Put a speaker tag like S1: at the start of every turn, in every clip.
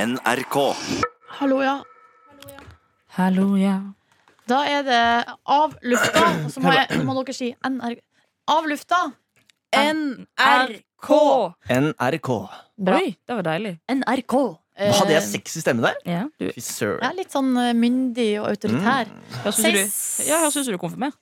S1: NRK.
S2: Hallo, ja.
S3: Hallo, ja.
S2: Da er det av lufta, og så må, jeg, må dere si NR... Av lufta.
S3: NRK!
S4: NRK.
S2: Bra.
S3: Oi, det var deilig.
S2: NRK.
S4: Hadde jeg sexy stemme der?
S3: Ja, du,
S4: Fy søren.
S2: Jeg Eh, er litt sånn eh, myndig og autoritær.
S4: Mm.
S3: hva synes du,
S2: Seis-
S3: ja, jeg syns du er konfirmert.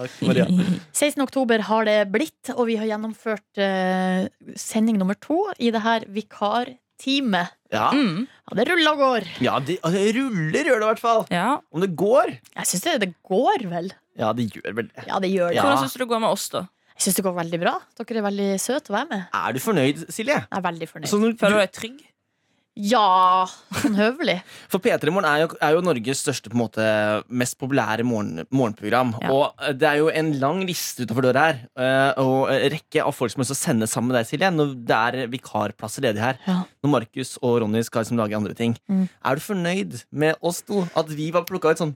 S4: Takk, Maria.
S3: Mm.
S2: 16. oktober har det blitt, og vi har gjennomført eh, sending nummer to i det her vikarteamet.
S4: Ja,
S3: Mm.
S2: Ja, det ruller og går.
S4: ja det, altså, det ruller, gjør det i hvert fall.
S3: Ja.
S4: Om det går?
S2: Jeg syns det, det går vel.
S4: Ja, det gjør vel det.
S2: Ja, det gjør det.
S4: Ja.
S3: Hvordan syns du det går med oss, da?
S2: Jeg syns det går veldig bra. Dere er veldig søte å være med.
S4: Er du fornøyd, Silje?
S2: Jeg er veldig fornøyd.
S4: Så når du,
S3: Føler du deg trygg?
S2: Ja, sånn høvelig.
S4: for P3 Morgen er jo, er jo Norges største, på en måte, mest populære morgen, morgenprogram.
S3: Ja.
S4: Og eh, det er jo en lang liste utenfor døra her, eh, og eh, rekke av folk som har lyst til å sende sammen med deg, Silje, når det er vikarplasser ledig her.
S2: Ja.
S4: Når Markus og Ronny skal liksom lage andre ting.
S2: Mm.
S4: Er du fornøyd med oss to? At vi var plukka ut sånn?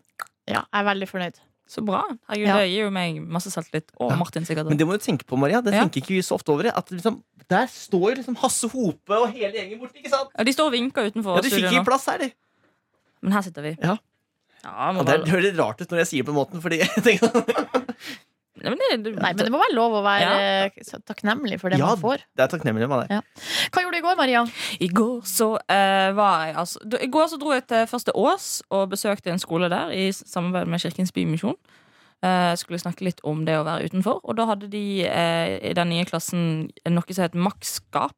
S2: Ja, jeg er veldig fornøyd.
S3: Så bra. Herregud,
S2: Ja.
S3: Det gir jo meg masse selvtillit. Og
S4: Ja.
S3: Martin, sikkert.
S4: Men det må du tenke på, Maria. Det
S3: Ja.
S4: tenker ikke vi så ofte over. At liksom, der står liksom Hasse Hope og hele gjengen borte, ikke sant?
S3: Ja, de står og vinker utenfor
S4: Ja, de fikk
S3: studio
S4: ikke
S3: nå.
S4: plass her, de.
S3: Men her sitter vi.
S4: Ja.
S3: Ja,
S4: Ja,
S3: må
S4: det
S3: bare-
S4: høres litt rart ut når jeg sier det på den måten, fordi jeg tenker sånn,
S3: Nei, men det,
S2: Nei, men det må være lov å være
S3: Ja.
S2: eh, så takknemlig for det
S4: Ja.
S2: man får.
S4: det er takknemlig av deg.
S2: Hva gjorde du i går, Maria?
S3: I går så eh, var jeg altså da- I går så dro jeg til Første Ås og besøkte en skole der i s- samarbeid med Kirkens Bymisjon. Eh, skulle snakke litt om det å være utenfor. Og da hadde de eh, i den nye klassen noe som het maktskap.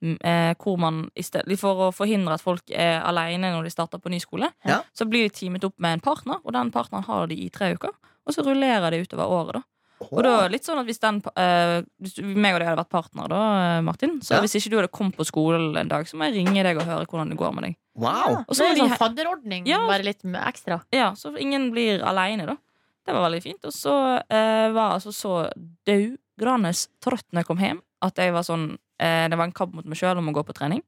S3: m- Eh, hvor man i sted, For å forhindre at folk er alene når de starter på ny skole,
S4: Ja.
S3: så blir de teamet opp med en partner, og den partneren har de i tre uker. Og så rullerer det utover året, da. Og da er det litt sånn at hvis den eh, Hvis du- meg og deg hadde vært partner da, eh, Martin Så
S4: Ja.
S3: hvis ikke du hadde kommet på skolen en dag Så må jeg ringe deg og høre hvordan det går med deg
S4: Wow!
S3: Og
S2: Og
S3: så
S2: så
S3: må
S2: en
S3: de
S2: sånn
S3: he-
S2: fadderordning.
S3: Ja.
S2: Være litt m- ekstra.
S3: Ja, så ingen blir alene da Det var veldig fint Og så eh, var jeg altså så dødgrande trøtt når jeg kom hjem At jeg var sånn eh, Det var en kamp mot meg selv om å gå på trening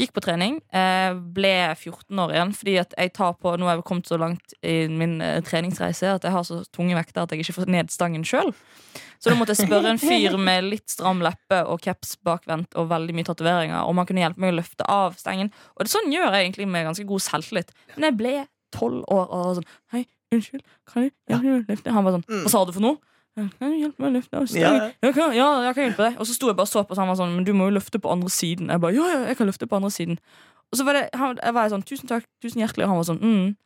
S3: Gikk på trening eh, Ble 14 år igjen Fordi at jeg tar på Nå har jeg kommet så langt i min eh, treningsreise At jeg har så tunge vekter At jeg ikke får ned stangen selv Så da måtte jeg spørre en fyr med litt stram leppe Og caps bakvendt og veldig mye tatueringer Om han kunne hjelpe meg å løfte av stengen Og det sånn gjør jeg egentlig med ganske god selvtillit Men jeg ble tolv år og var sånn Hei, unnskyld, kan du hjelpe meg å løfte? Han var sånn,
S4: Mm.
S3: hva sa du for noe? Kan du hjelpe meg å løfte? av
S4: Ja,
S3: stangen?» jeg kan, ja, jeg kan hjelpe deg. Og så sto jeg bare og så på, så han var sånn, men du må jo løfte på andre siden. Jeg bare, ja, ja, jeg kan løfte på andre siden. Og så var det, han, jeg var sånn, tusen takk, tusen hjertelig, og han var sånn, mm.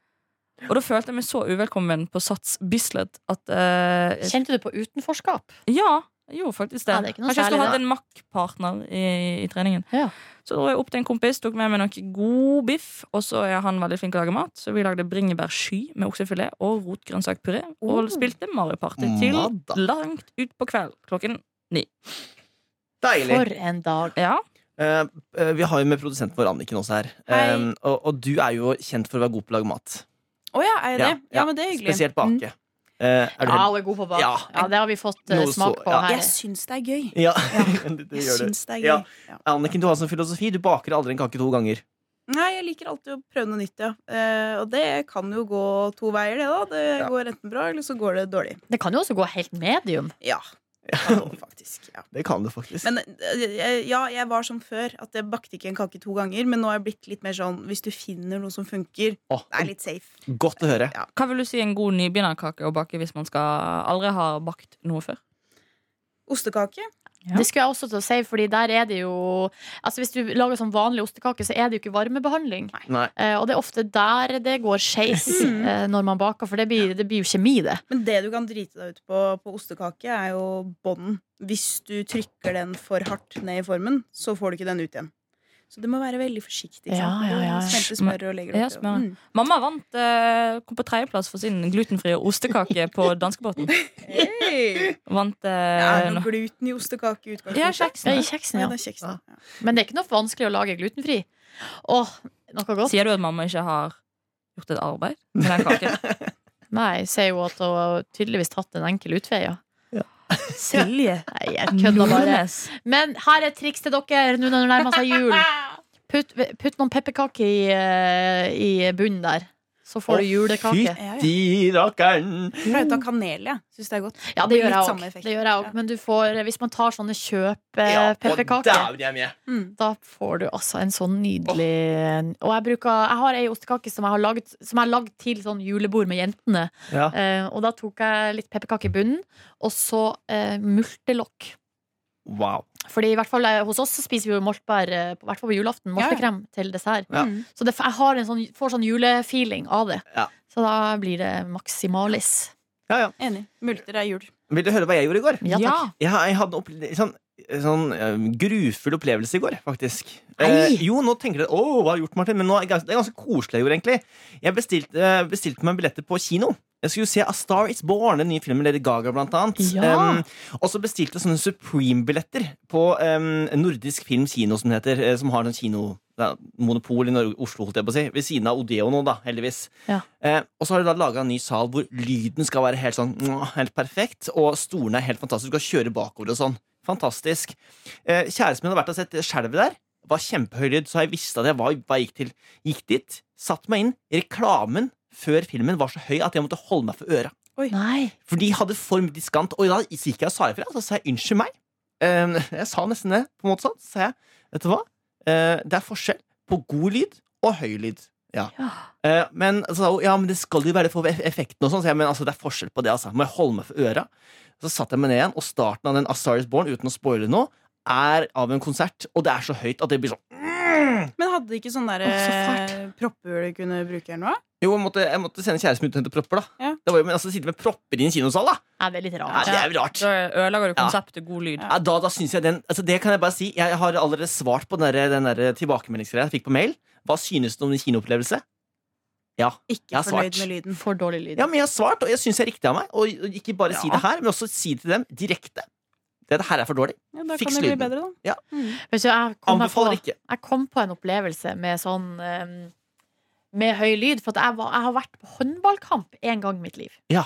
S3: Og da følte jeg meg så uvelkommen på Sats Bislett at eh,
S2: Kjente du på utenforskap?
S3: Ja, jeg gjorde faktisk det.
S2: Ja, det er ikke noe
S3: Kanskje jeg
S2: særlig,
S3: skulle hatt
S2: da.
S3: en Mack-partner i, i treningen.
S2: Ja.
S3: Så dro jeg opp til en kompis, tok med meg noe god biff, og så er han veldig flink til å lage mat, så vi lagde bringebærsky med oksefilet og rotgrønnsakpuré,
S2: Oh.
S3: og spilte Mario Party til
S4: Madda.
S3: langt ut på kveld, klokken
S4: Deilig.
S2: For en dag.
S3: Ja,
S4: Eh, eh, vi har jo med produsenten vår Anniken også her.
S5: Hei.
S4: Eh, og, og du er jo kjent for å være god på å lage mat.
S5: Å ja, er jeg det?
S4: Ja,
S5: Ja,
S4: ja.
S5: men det er hyggelig. Mm.
S4: Spesielt bake. Eh, er du
S2: Ja,
S4: heldig?
S2: hun er god på bak. Ja,
S4: Ja.
S2: det har vi fått eh,
S4: Noe så-
S2: smak på
S4: ja.
S2: her.
S5: Jeg syns det er gøy.
S4: Ja.
S5: Ja.
S4: det, det
S5: Jeg
S4: gjør du.
S5: syns det er gøy.
S4: Ja.
S5: Ja.
S4: Anniken, du har sånn filosofi. Du baker aldri en kake to ganger.
S5: Nei, jeg liker alltid å prøve noe nytt, ja. Eh, og det kan jo gå to veier, det, da. Det
S4: Ja.
S5: går enten bra, eller så går det dårlig.
S2: Det kan jo også gå helt medium.
S5: Ja. det kan gå, faktisk. Ja.
S4: Det kan du faktisk.
S5: Men eh, ja, jeg var som før, at jeg bakte ikke en kake to ganger. Men nå har jeg blitt litt mer sånn hvis du finner noe som funker,
S4: Åh,
S5: det er litt safe.
S4: Godt å høre.
S3: Hva vil du si en god nybegynnerkake å bake hvis man skal aldri har bakt noe før?
S5: Ostekake?
S3: Ja.
S2: Det skulle jeg også til å si, Fordi der er det jo Altså Hvis du lager sånn vanlig ostekake, så er det jo ikke varmebehandling.
S4: Nei.
S2: Eh, og det er ofte der det går skeis
S5: Mm.
S2: eh, når man baker, for det blir, det blir jo kjemi, det.
S5: Men det du kan drite deg ut på på ostekake, er jo bånden. Hvis du trykker den for hardt ned i formen, så får du ikke den ut igjen. Så det må være veldig forsiktig. ikke sant?
S2: Ja, ja, ja.
S5: Du Smelter smør og legger det
S3: Ja,
S5: oppi.
S3: smør.
S5: Mm.
S3: Mamma vant, eh, kom på tredjeplass for sin glutenfrie ostekake på danskebåten.
S5: Hey!
S3: Vant
S5: Er
S3: eh,
S5: det
S3: no-
S5: noe gluten i ostekake i utgangspunktet?
S2: Ja,
S3: Ja,
S2: i
S3: kjeksen.
S2: kjeksen,
S5: Nei,
S2: ja.
S5: det er kjeksen. Ja.
S2: Men det er ikke noe vanskelig å lage glutenfri. Åh, noe godt.
S3: Sier du at mamma ikke har gjort et arbeid med den kaken?
S2: Nei, sier jo at hun har tydeligvis tatt en enkel utvei. Ja.
S3: Silje
S2: Nei, jeg kødder bare.
S3: Nordnes.
S2: Men her er et triks til dere nå når det nærmer seg jul. Putt, putt noen pepperkaker i, eh, i bunnen der. så får du julekake.
S5: Ja, ja.
S4: Fytti rakkeren!
S5: Jeg pleier å ta kanel, jeg. Syns det er godt.
S2: Ja, det
S5: blir
S2: gjør
S5: litt
S2: jeg
S5: samme
S2: også.
S5: effekt.
S2: Det gjør jeg også.
S5: Ja.
S2: Men du får, hvis man tar sånne Eh,
S4: og
S2: kjøp-pepperkaker
S4: dæven, jeg er med!
S5: Mm.
S2: da får du altså en sånn nydelig Og jeg bruker Jeg har ei ostekake som jeg har lagd, som jeg har lagd til sånn julebord med jentene.
S4: Ja.
S2: Eh, og da tok jeg litt pepperkake i bunnen, og så eh, multelokk.
S4: Wow.
S2: Fordi i hvert fall eh, hos oss så spiser vi jo moltbær eh, på- i hvert fall på julaften.
S5: Ja, ja.
S2: Moltekrem til dessert.
S4: Ja.
S5: Mm.
S2: Så det, jeg har en sånn, får sånn julefeeling av det.
S4: Ja.
S2: Så da blir det maksimalis.
S4: Ja, ja.
S5: Enig. Multer er jul.
S4: Vil du høre hva jeg gjorde i går?
S2: Ja takk.
S4: Jeg, jeg hadde en opple- sånn, sånn eh, grufull opplevelse i går, faktisk. Eh,
S2: Nei!
S4: jo, nå tenker dere Åh, hva har jeg gjort, Martin? Men nå er det ganske, det er ganske koselig jeg gjorde, egentlig. Jeg bestilte, eh, bestilte meg billetter på kino. Jeg skulle se A Star Is Born, den nye filmen med Lady Gaga, blant annet.
S2: Ja.
S4: Em, og så bestilte jeg sånne Supreme-billetter på em, Nordisk Film Kino, som det heter. eh, som har sånn kinomonopol i Nor- Oslo, holdt jeg på å si. Ved siden av Odeo nå, da, heldigvis.
S2: Ja.
S4: Eh, og så har de da laga en ny sal hvor lyden skal være helt sånn mwah, helt perfekt, og stolene er helt fantastiske, du skal kjøre bakover og sånn. Fantastisk. Eh, kjæresten min hadde vært og sett skjelvet der. Var kjempehøy lyd, så jeg visste at jeg var, hva jeg gikk til. Gikk dit, satt meg inn. Reklamen før filmen var så høy at jeg måtte holde meg for øra.
S2: Nei.
S4: For de hadde for mye diskant. Og da gikk jeg og sa ifra. Så sa jeg unnskyld meg. Eh, jeg sa nesten det. på en måte sånn. Så sa jeg, vet du hva? Eh, det er forskjell på god lyd og høy lyd. Ja.
S2: Ja.
S4: Eh, men, så, sa hun, ja, men det skal jo være for eff- effekten og sånn. Så jeg, men altså, det er forskjell på det, altså. Må jeg holde meg for øra? Så satt jeg meg ned igjen, og starten av den A Star Is Born, uten å spoile noe, er av en konsert, og det er så høyt at det blir sånn
S5: Men hadde de ikke sånn der
S2: Å, så
S5: eh, propper du kunne bruke eller noe?
S4: Jo, jeg måtte, jeg måtte sende kjæresten min ut og hente propper, da.
S5: Ja.
S4: Det var jo, men altså, sitte med propper i en kinosal, da!
S2: Nei, det er litt
S4: Ja,
S2: rart.
S4: det er jo rart.
S3: Da ødelegger du konseptet god lyd.
S4: Ja, da, da synes jeg den, altså det kan jeg bare si Jeg har allerede svart på den, der, den der tilbakemeldingsgreia jeg fikk på mail. Hva synes du om din kinoopplevelse? Ja.
S5: Ikke
S4: Jeg har
S5: fornøyd
S4: svart.
S5: med lyden.
S2: For dårlig lyd.
S4: ja, men jeg har svart, og jeg syns jeg er riktig av meg. Og og ikke bare si
S3: Ja.
S4: det her, men også si det til dem direkte. Dette her er for dårlig.
S5: Ja, da
S4: Fiks
S5: kan det bli
S4: lyden.
S5: bedre, da.
S4: Ja.
S5: Mm.
S2: Vet du, jeg kom meg på-
S4: Anbefaler ikke.
S2: jeg kom på en opplevelse med sånn eh, Med høy lyd. For at jeg, var, jeg har vært på håndballkamp én gang i mitt liv.
S4: Ja.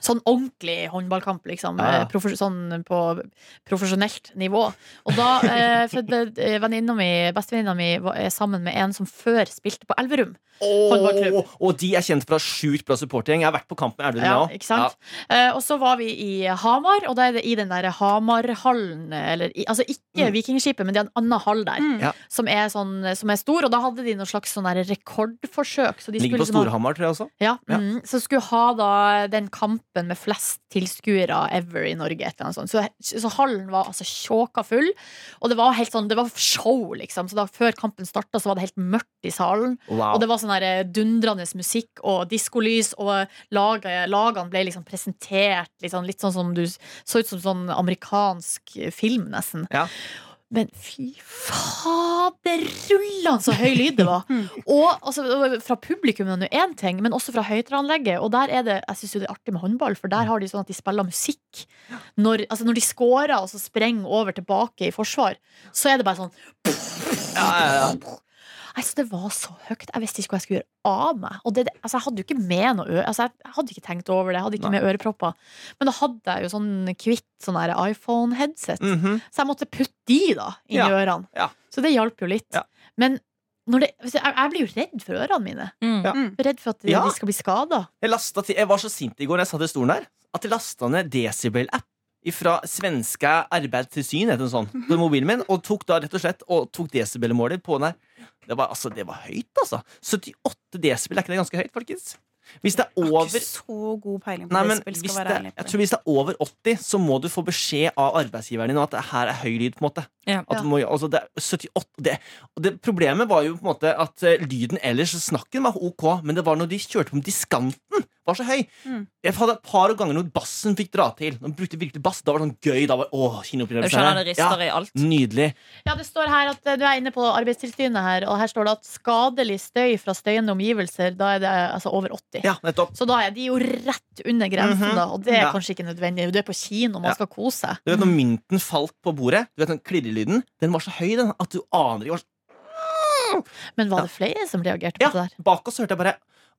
S2: Sånn ordentlig håndballkamp, liksom.
S4: Ja, ja.
S2: eh, Profes sånn på profesjonelt nivå. Og da eh, for det- eh, venninna mi, bestevenninna mi var- er sammen med en som før spilte på Elverum. Håndballklubb.
S4: Åh, og de er kjent for å ha sjukt bra supportergjeng. Jeg har vært på kamp med Elverum
S2: Ja,
S4: jeg også.
S2: ikke sant? Eh, og så var vi i Hamar, og da er det i den derre Hamarhallen eller i, Altså ikke
S4: Mm.
S2: Vikingskipet, men det er en annen hall der.
S5: Mm.
S4: Ja.
S2: Som er, sånn, som er stor, og da hadde de noe slags sånn der rekordforsøk. Så de
S4: Ja. Ligger
S2: skulle
S4: på
S2: liksom ha-
S4: Storhamar, tror jeg også.
S2: Ja,
S4: Ja.
S2: Mm, Så skulle ha da den kampen med flest tilskuere ever i Norge. Et eller annet sånt. Så, så hallen var altså tjåka full, og det var helt sånn, det var show, liksom. Så da, før kampen starta, så var det helt mørkt i salen. Og
S4: Wow.
S2: det var sånn der, eh, dundrende musikk og diskolys, og eh, laget, lagene ble liksom presentert litt sånn, litt sånn som du Så ut som sånn amerikansk film, nesten.
S4: Ja.
S2: Men fy faderullan så høy lyd det var! og altså, fra publikum er det én ting, men også fra høyttaleranlegget. Og der er det, jeg syns jo det er artig med håndball, for
S4: Mm.
S2: der har de sånn at de spiller musikk. Når, altså når de scorer og så sprenger over tilbake i forsvar, så er det bare sånn
S4: Ja, ja, ja.
S2: Nei, så Det var så høyt. Jeg visste ikke hva jeg skulle gjøre av meg. Og det, det- altså, jeg hadde jo ikke med noe ø- altså, Jeg hadde ikke tenkt over det. Jeg hadde ikke
S4: Nei.
S2: med ørepropper. Men da hadde jeg jo sånn kvitt sånn der iPhone-headset.
S4: Mhm.
S2: Så jeg måtte putte de da inn
S4: Ja.
S2: i ørene.
S4: Ja.
S2: Så det hjalp jo litt.
S4: Ja.
S2: Men når det, jeg, jeg blir jo redd for ørene mine.
S3: Mm.
S4: Ja.
S2: Redd for at
S4: Ja.
S2: de skal bli skada.
S4: Jeg, lasta til, jeg var så sint i går da jeg satt i stolen der, at jeg lasta ned Decibel-app fra svenske arbeid til syn, heter den sånn, på mobilen min, og tok da rett og slett og tok decibelmåler på den her. Det var, altså, det var høyt, altså. 78 desibel, er ikke det ganske høyt, folkens? Hvis det er
S5: Har
S4: over
S5: ikke så god peiling på
S4: Nei,
S5: det
S4: men
S5: spill,
S4: hvis
S5: skal
S4: det,
S5: være ærlig. på
S4: jeg
S5: det.
S4: tror hvis det er over 80, så må du få beskjed av arbeidsgiveren din om at det her er høy lyd. på en måte
S3: Ja.
S4: at du må, altså, det er 78, det, og det Problemet var jo på en måte at eh, lyden ellers, snakken var ok, men det var når de kjørte på med diskanten, var så høy.
S5: Mm.
S4: Jeg hadde et par ganger når bassen fikk dra til. Når de brukte virkelig bass, Da var det sånn gøy. Da var åh,
S3: Jeg
S4: kinoopplevelse.
S3: skjønner
S4: her.
S3: det rister i alt.
S4: Ja, nydelig.
S2: Ja, det står her at eh, Du er inne på Arbeidstilsynet her, og her står det at skadelig støy fra støyende omgivelser, da er det eh, altså over 80.
S4: Ja, nettopp.
S2: Så da er de jo rett under grensen,
S4: Mhm.
S2: da, og det er
S4: Ja.
S2: kanskje ikke nødvendig. Du er på kino, man
S4: Ja.
S2: skal kose seg.
S4: Du vet når
S3: Mm.
S4: mynten falt på bordet, Du vet den klirrelyden, den var så høy den at du aner ikke hva
S2: Men var det flere som reagerte
S4: Ja.
S2: på det der?
S4: Bak oss hørte jeg bare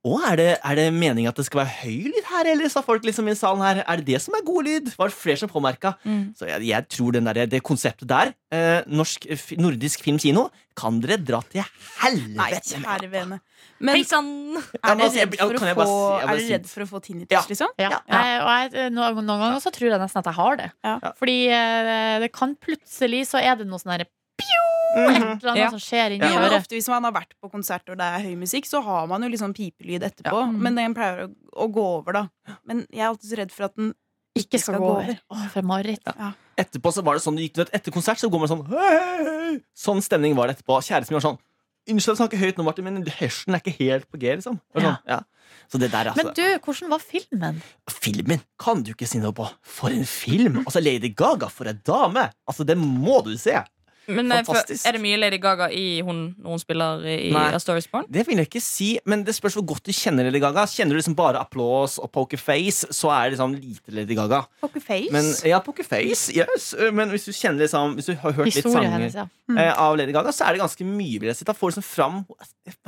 S4: Å, er det, er det meningen at det skal være høy lyd her, eller sa folk liksom i salen her? Er det det som er god lyd? Var det flere som påmerka?
S3: Mm.
S4: Så jeg, jeg tror den der, det konseptet der, eh, norsk, f- nordisk filmkino, kan dere dra til
S5: Nei,
S4: helvete med.
S5: kjære vene. Men
S3: Hei sann!
S5: er
S4: bare
S5: dere
S4: si-
S5: redd
S4: ja,
S5: for
S4: kan
S5: å
S4: altså, jeg bare
S5: få,
S4: si- jeg bare
S5: er dere
S4: si-
S5: redd for å få tinnitus,
S4: Ja.
S5: liksom?
S2: Ja. Jeg, og jeg, eh, no- noen ganger så tror jeg nesten at jeg har det.
S5: Ja.
S4: Ja.
S2: Fordi eh, det kan plutselig så er det noe sånn derre et
S4: Mhm.
S2: eller annet
S3: Ja.
S2: som skjer inni
S5: Ja, men
S2: øret.
S5: ofte Hvis man har vært på konsert og det er høy musikk, så har man jo litt sånn pipelyd etterpå.
S3: Ja.
S5: Men den pleier å, å gå over, da. Men jeg er alltid så redd for at den
S2: Ikke skal gå over. Å, for et mareritt.
S4: Etterpå så var det sånn, du gikk du vet, etter konsert så går man sånn «Hei, hei, hei!» Sånn stemning var det etterpå. Kjæresten min var sånn Unnskyld, jeg snakker høyt nå, Martin, men hørselen er ikke helt på G, liksom. Det var Sånn, ja. Så det der,
S2: Men
S4: altså.
S2: du, hvordan var filmen?
S4: Filmen kan du ikke si noe på. For en film! Altså, Lady Gaga, for en dame! Altså, det må du se!
S3: Men eh, for-
S4: Fantastisk.
S3: er det mye Lady Gaga i hun når hun spiller i
S4: Nei.
S3: A Story Spawn?
S4: Det vil jeg ikke si, men det spørs hvor godt du kjenner Lady Gaga. Kjenner du liksom bare applaus og poker face, så er det liksom lite Lady Gaga.
S5: Poker face.
S4: Men ja, poker face, yes. Men hvis du kjenner liksom Hvis du har hørt litt
S2: Historien
S4: sanger
S2: hennes, ja.
S4: eh, av Lady Gaga, så er det ganske mye. vil jeg si. Da får du liksom fram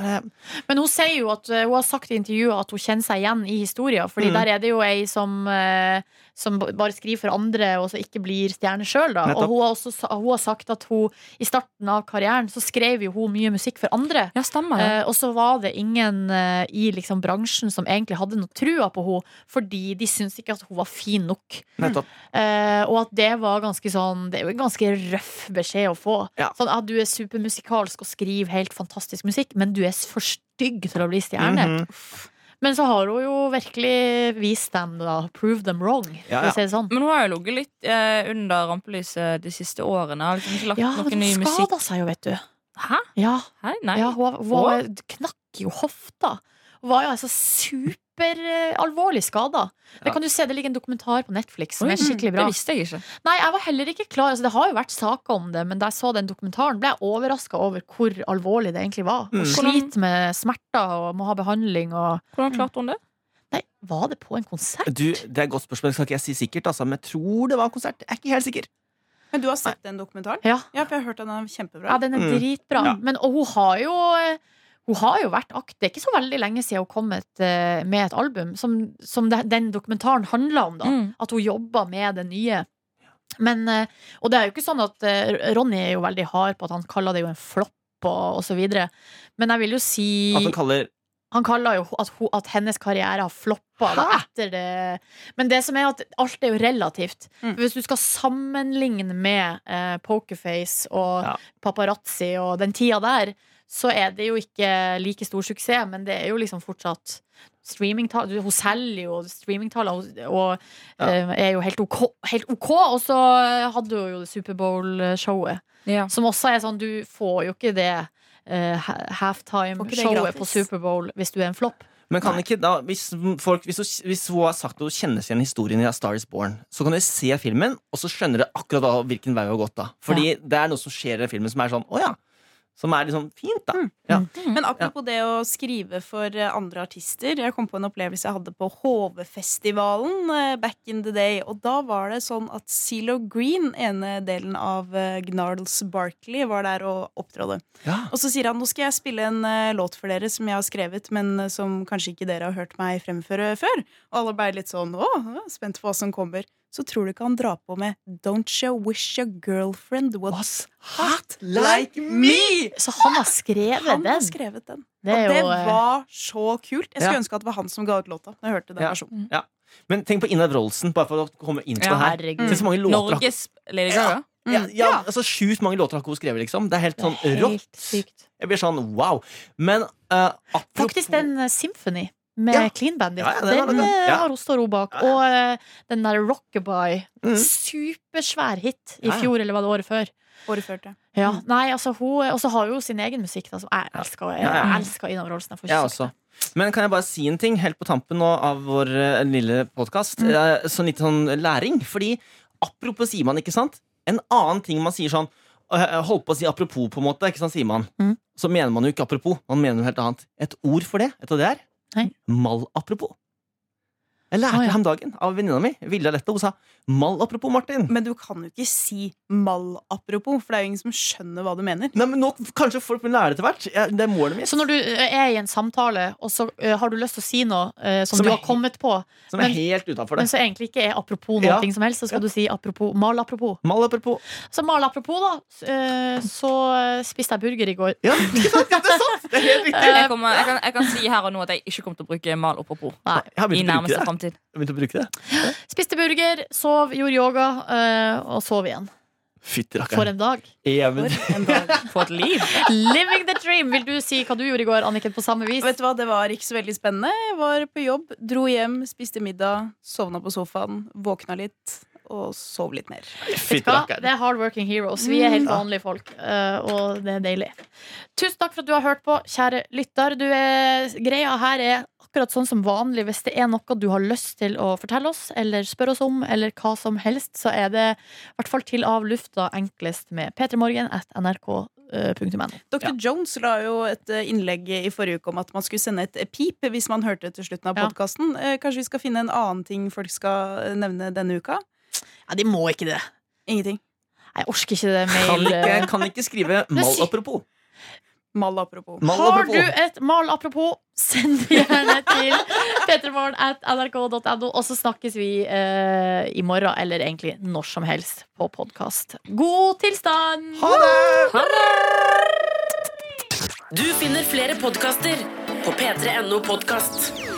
S4: eh,
S2: Men hun sier jo at eh, hun har sagt i intervjuet at hun kjenner seg igjen i historien. Fordi
S4: Mm.
S2: der er det jo ei som, eh, som b- bare skriver for andre, og så ikke blir stjerne sjøl. Og
S4: Nettopp.
S2: hun har, også, sa- hun har sagt at hun i starten av karrieren så skrev jo hun mye musikk for andre.
S4: Ah,
S3: Ja, stemmer det.
S2: Eh, og så var det ingen eh, i liksom bransjen som egentlig hadde noe trua på henne, fordi de syntes ikke at hun var fin nok.
S4: Nettopp.
S2: Eh, og at det var ganske sånn Det er jo en ganske røff beskjed å få.
S4: Ja.
S2: Sånn at Du er supermusikalsk og skriver helt fantastisk musikk, men du er for stygg til å bli stjerne.
S4: Mhm.
S2: Men så har hun jo virkelig vist dem, da. Prove them wrong,
S4: Ja,
S2: for
S4: ja.
S2: å si det sånn.
S3: Men hun har jo ligget litt eh, under rampelyset de siste årene. Har liksom ikke lagt
S2: Ja,
S3: noe
S2: men
S3: ny
S2: hun
S3: musikk.
S2: skada seg jo, vet du.
S3: Hæ?
S2: Ja,
S3: Hæ? Nei.
S2: ja hun, hun, knakk jo hofta. Hun var jo altså superalvorlig skada.
S4: Ja.
S2: Det kan du se, det ligger en dokumentar på Netflix som
S3: Oi,
S2: er skikkelig bra.
S3: Det visste jeg ikke.
S2: Nei, jeg var heller ikke klar. Altså, det har jo vært saker om det, men da jeg så den dokumentaren, ble jeg overraska over hvor alvorlig det egentlig var.
S4: Mm.
S2: Hun sliter med smerter og må ha behandling og
S3: Hvordan klarte hun det?
S2: Nei, var det på en konsert?
S4: Du, det er et godt spørsmål. Det skal ikke jeg si sikkert, altså, men jeg tror det var en konsert. Jeg er ikke helt sikker.
S5: Men du har sett den dokumentaren?
S2: Ja.
S5: Ja, for jeg har hørt at den er kjempebra.
S2: ja, den er
S4: Mm.
S2: dritbra.
S4: Ja.
S2: Men, og hun har jo hun har jo vært akt. Det er ikke så veldig lenge siden hun kom med et, eh, med et album, som, som det- den dokumentaren handla om. da
S3: Mm.
S2: At hun jobber med det nye. Men, eh, og det er jo ikke sånn at eh, Ronny er jo veldig hard på at han kaller det jo en flopp og, og så videre. Men jeg vil jo si
S4: At hun kaller
S2: Han kaller jo at, ho- at hennes karriere har floppa da, etter det. Men det som er at alt er jo relativt.
S5: Mm.
S2: Hvis du skal sammenligne med eh, Pokerface og
S4: Ja.
S2: paparazzi og den tida der, så er det jo ikke like stor suksess, men det er jo liksom fortsatt streamingtall du- Hun selger jo streamingtallene hun- og
S4: Ja.
S2: eh, er jo helt OK, helt OK. Og så hadde hun jo Superbowl-showet.
S3: Ja.
S2: Som også er sånn, du får jo ikke det eh, ha-
S5: Får ikke det
S2: halftime-showet
S5: gratis.
S2: på Superbowl hvis du er en flopp.
S4: Men kan ikke da, hvis, folk, hvis, hun, hvis hun har sagt at hun kjenner igjen historien i A Star Is Born, så kan dere se filmen, og så skjønner dere akkurat da hvilken vei hun har gått. da Fordi det er noe som skjer i den filmen som er sånn, å ja. Som er liksom fint, da.
S2: Mm.
S4: Ja.
S5: Men apropos det å skrive for eh, andre artister. Jeg kom på en opplevelse jeg hadde på Hovefestivalen eh, back in the day. Og da var det sånn at Zelo Green, ene delen av eh, Gnarls Barkley, var der og opptrådde.
S4: Ja.
S5: Og så sier han nå skal jeg spille en eh, låt for dere som jeg har skrevet, men eh, som kanskje ikke dere har hørt meg fremføre før. Og alle ble litt sånn å, jeg er spent på hva som kommer. Så tror du ikke han drar på med Don't you wish your girlfriend was hot like me?
S2: Så han har skrevet
S5: Han har
S2: den.
S5: skrevet den.
S2: Det er
S5: og det
S2: jo eh,
S5: var så kult. Jeg skulle
S4: Ja.
S5: ønske at det var han som ga ut låta. Når jeg hørte den
S4: Ja.
S5: versjonen
S4: Men tenk på Ina Wroldsen, bare for å komme inn på
S3: Ja,
S4: det her.
S2: Herregud. Mm.
S4: Tenk så mange låter har-
S3: Mm. Norges Lady Gaga?
S4: ja, ja,
S5: Ja.
S4: altså Sjukt mange låter har ikke hun skrevet, liksom. Det er helt sånn rått.
S2: Helt sykt.
S4: Jeg blir sånn wow. Men eh, apropos
S2: Faktisk den eh, Symphony med
S4: Ja.
S2: Clean Bandit.
S4: Ja, ja, den var
S2: den
S4: det, den.
S2: eh,
S4: Ja.
S2: har hun står hun bak.
S4: Ja, ja.
S2: Og eh, den der Rockabye.
S4: Mm.
S2: Supersvær hit i
S4: Ja, ja.
S2: fjor, eller var det året før.
S5: året før. tror jeg.
S2: Ja, nei, altså hun Og så har hun jo sin egen musikk, da, som jeg elsker. Jeg,
S4: Ja, ja.
S2: jeg elsker Ina Wroldsen. Jeg får ikke
S4: Jeg
S2: sagt
S4: også. altså. Men kan jeg bare si en ting helt på tampen nå av vår eh, lille
S2: Mm.
S4: podkast? Sånn litt sånn læring. Fordi apropos sier man, ikke sant? En annen ting man sier sånn eh, Holdt på å si apropos, på en måte, ikke sant, sier man.
S2: Mm.
S4: Så mener man jo ikke apropos. Man mener noe helt annet. Et ord for det, vet du hva det er?
S2: Nei.
S4: Malapropos. Jeg lærte
S2: Å, ja.
S4: det om dagen av venninna mi, Vilja Letta. Hun sa 'mal apropos Martin'.
S5: Men du kan jo ikke si mal apropos, for det er jo ingen som skjønner hva du mener.
S4: Nei, men nå, Kanskje folk vil lære det etter hvert. Ja, det er målet mitt.
S2: Så når du eh, er i en samtale, og så eh, har du lyst til å si noe eh, som,
S4: Som
S2: du
S4: er
S2: har kommet på,
S4: Som er
S2: men-
S4: helt utenfor
S2: men
S4: det.
S2: som egentlig ikke er apropos noe
S4: Ja.
S2: som helst, så skal
S4: Ja.
S2: du si apropos, mal apropos.
S4: Mal apropos.
S2: Så mal apropos, da. s- eh, Så eh, spiste jeg burger i går.
S4: Ja, ikke sant? Ja, det er sant! Det er helt riktig.
S2: Eh,
S3: Jeg, kommer, jeg, kan, jeg kan si her og nå at jeg ikke kommer til å bruke mal og propos
S2: Nei.
S4: Jeg har
S3: i
S4: begynt å bruke
S3: nærmeste
S4: det.
S3: framtid.
S4: Jeg har begynt å bruke det.
S2: Spiste burger, sov, gjorde yoga, eh, og sov igjen.
S4: Fytti
S2: For
S4: rakkeren.
S2: en dag.
S4: Even.
S5: For en dag.
S3: For et liv!
S2: Living the dream! Vil du si hva du gjorde i går, Anniken, på samme vis?
S5: Vet du hva, Det var ikke så veldig spennende. Jeg var på jobb, dro hjem, spiste middag, sovna på sofaen, våkna litt og sov litt mer.
S2: Vet
S4: Fytti
S2: du hva?
S4: rakkeren.
S2: Det er hardworking heroes. Vi er helt
S4: Mm. Ja.
S2: vanlige folk, eh, og det er deilig. Tusen takk for at du har hørt på, kjære lytter. Du er, greia her er akkurat sånn som vanlig. Hvis det er noe du har lyst til å fortelle oss, eller spørre oss om, eller hva som helst, så er det i hvert fall til av lufta enklest med p3morgen at eh, nrk.no.
S5: Dr. Jones la jo et eh, innlegg i forrige uke om at man skulle sende et pip hvis man hørte til slutten av
S2: Ja.
S5: podkasten. Kanskje vi skal finne en annen ting folk skal eh, nevne denne uka?
S2: Ja, de må ikke det.
S5: Ingenting.
S2: Jeg orker ikke det
S4: Kan
S2: mail...
S4: ikke, kan ikke skrive mal apropos.
S5: Mal apropos.
S4: Mal
S2: Har
S4: apropos.
S2: du et mal apropos, send det gjerne til petremorgen at nrk.no, og så snakkes vi eh, i morgen, eller egentlig når som helst, på podkast. God tilstand!
S4: Ha det!
S1: Du finner flere podkaster på p3.no podkast.